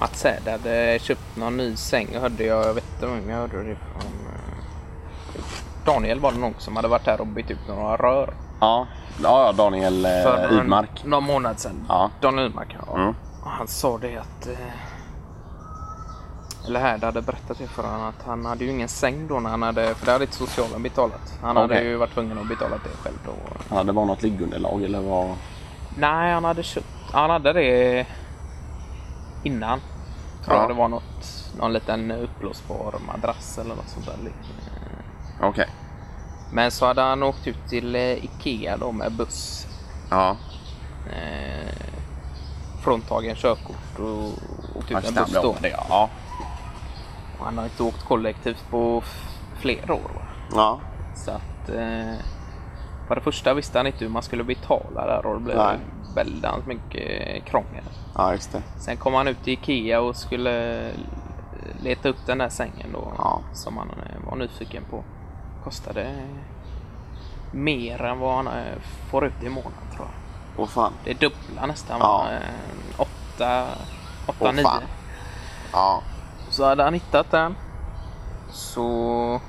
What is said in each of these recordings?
Mats Säde hade köpt någon ny säng hörde jag. Jag vet inte vem jag hörde det från. eh, Daniel var det någon som hade varit här och bytt ut några rör. Ja, ja ja, Daniel eh, För någon- Idmark. Någon månad sedan. Ja. Daniel Idmark. Ja. Mm. Och han sa det att... Eh, eller här, det hade berättat det för honom att han hade ju ingen säng då när han hade... För det hade inte socialen betalat. Han hade Okej. ju varit tvungen att betala det själv då. Ja, det var något liggunderlag eller vad? Nej, han hade köpt... Han hade det innan. Tror Ja. jag det var något, någon liten uppblåsbar madrass eller något sånt där. liknande. Okej. Men så hade han åkt ut till eh, Ikea då med buss. Ja. Eh, fråntagen körkort och åkt ut med buss då. Typ det, ja. Och han har inte åkt kollektivt på f- flera år. Va? Ja. Så att... Eh, för det första visste han inte hur man skulle betala där och det blev Nej. väldigt mycket krångel. Ja, just det. Sen kom han ut till Ikea och skulle eh, leta upp den där sängen då. Ja. Som han eh, var nyfiken på. Kostade mer än vad han eh, får ut i månaden tror jag. Åh fan. Det är dubbla nästan. Ja. va? Eh, Åtta, åtta, Åh, nio. fan. Ja. Så hade han hittat den. Så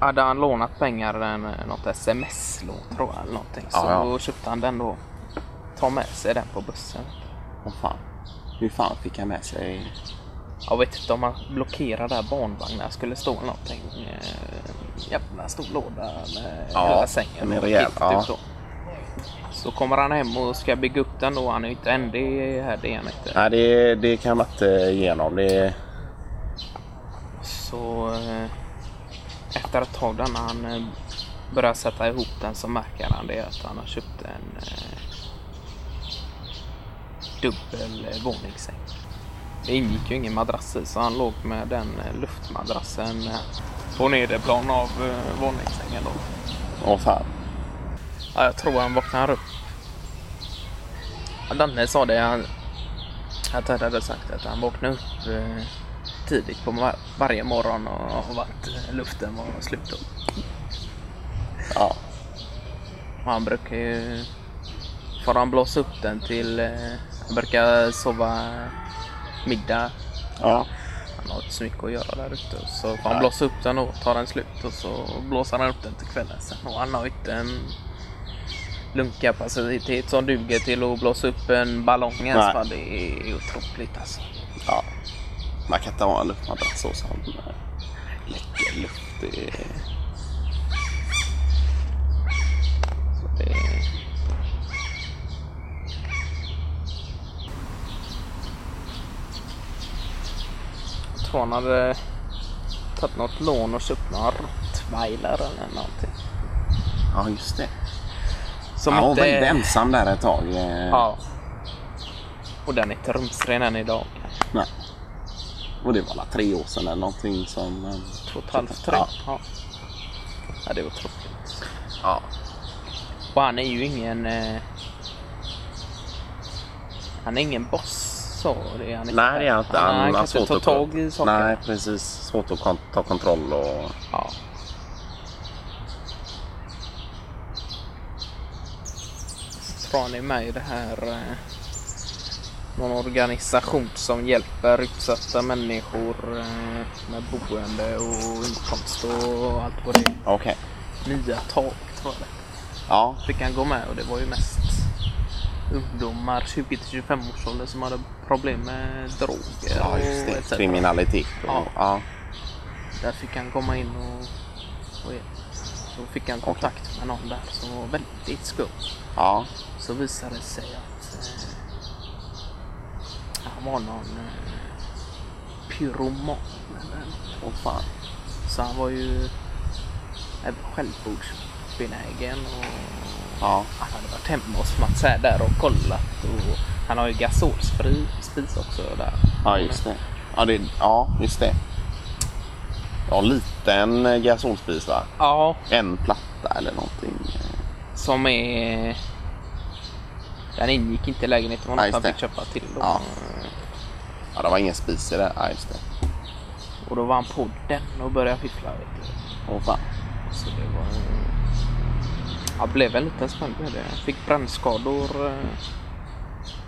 hade han lånat pengar, en, eh, något sms-lån tror jag eller någonting. Så Ja, ja. då köpte han den då. Ta med sig den på bussen. Åh fan. Hur fan fick han med sig? Jag vet inte om man blockerar där barnvagnar skulle stå eller någonting. Eh, Jävla stor låda med Ja, hela sängen. den är och rejäl, helt ja. ut då. Så kommer han hem och ska bygga upp den då. Han är ju inte ändig här, det är han inte. Nej, det, det kan man inte igenom. Det... Så eh, efter ett tag där när han eh, börjar sätta ihop den så märker han det att han har köpt en eh, dubbel eh, våningssäng. Det ingick ju ingen madrass i så han låg med den eh, luftmadrassen eh, på nederplan av eh, våningssängen. Då. Åh fan. Ja, jag tror han vaknar upp. Ja, Danne sa det han, att han hade sagt att han vaknade upp eh, tidigt på va- varje morgon och, och att eh, luften var slut. då. Ja. Och han brukar ju... Får han blåsa upp den till... Eh, han brukar sova middag. Ja. Han har inte så mycket att göra där ute. Så får han Nej. blåsa upp den och tar den slut och så blåser han upp den till kvällen sen. Och han har inte en lungkapacitet som duger till att blåsa upp en ballong ens. Nej. va. Det är otroligt alltså. ja. Man kan inte ha en luftmadrass så som eh, läcker luft. Det är... Så det... Jag tror han hade tagit något lån och köpt några rottweiler eller någonting. Ja, just det. Som han var inte- väldigt ensam där ett tag. eh, Ja. Och den är inte rumsren än idag. Nej. Och det var alla tre år sedan eller någonting som... eh, Två och ett halvt, tre. Ja. Ja. ja, det är otroligt. Ja. Och han är ju ingen... Eh... Han är ingen boss, så det är han inte. Nej, det är inte. Han, han har kan inte svårt ta att- tag i saker. Nej, precis. Svårt att kon- ta kontroll och... Ja. Tror ni med i det här eh, någon organisation som hjälper utsatta människor eh, med boende och inkomst och allt vad det är. Okej. Nya tag tror jag det. Ja. Vi kan gå med och det var ju mest ungdomar 20-25 års ålder som hade problem med droger ja, just och det. etc. Kriminalitet. Och, Ja. ja. Där fick han komma in och, och hjälp. så fick han kontakt med någon där som var väldigt skum. Ja. Så visade det sig att eh, han var någon eh, pyroman. eller något. Åh fan. Så han var ju eh, självmordsbenägen och Ja. han hade varit hemma hos Mats här där och kollat. Och han har ju gasolsprit spis också där. Ja, just det. Ja, det, ja just det. Ja, liten eh, gasolspis va? Ja, En platta eller någonting. eh, Som är... Den ingick inte i lägenheten, det var Ja, något han fick just det. köpa till. Då. Ja. Ja, det var ingen spis i det. Ja, just det. Och då var han på den och började fiffla. Vet du. Åh fan. Så det var... Jag blev en liten smäll med det. Jag fick brännskador. eh,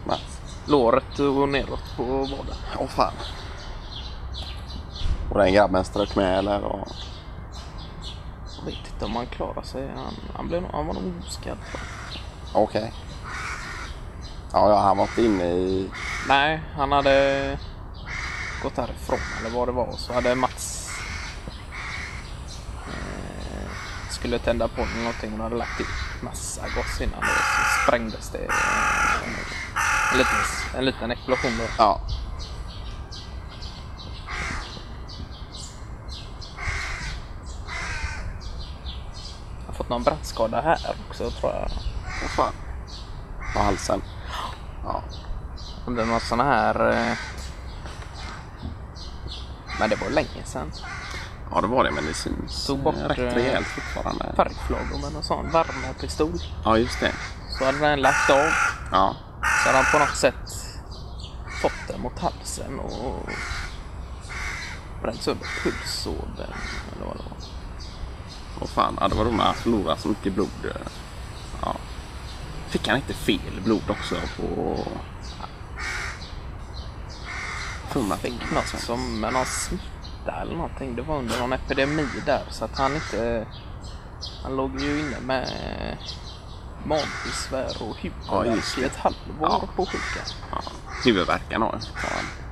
Nice. låret och neråt på vaden. Åh fan. Och den grabben strök med eller? Och... Jag vet inte om han klarar sig. Han, han, blev, nog- han var nog oskadd. Okej. Ja, ja, han var inte inne i... Nej, han hade gått härifrån eller vad det var. Så hade Mats eh, skulle tända på den någonting. Hon hade lagt i massa gas innan det. Så sprängdes det. eh, En liten, en liten explosion då. Ja. Jag har fått någon brandskada här också tror jag. Åh fan. På halsen. Ja. Om det är någon sån här... eh, Men det var länge sedan. ja, det var det. Men det syns Tog bort, eh, rätt eh, rejält fortfarande. Färgflagor med någon sån värmepistol. Ja, just det. Så hade den lagt av. Ja. Så hade han på något sätt fått den mot halsen och bränt sönder pulsådern. Eller vad det var. Åh fan. Ja, det var roligt. Han förlorade så mycket blod. eh. Ja. Fick han inte fel blod också på... Fumlat. Fick något Alltså. som med någon smitta eller någonting. Det var under någon epidemi där så att han inte... Han låg ju inne med magbesvär och huvudvärk Ja, just det. i ett halvår Ja. på sjukan. Ja. Huvudvärken har jag. fortfarande.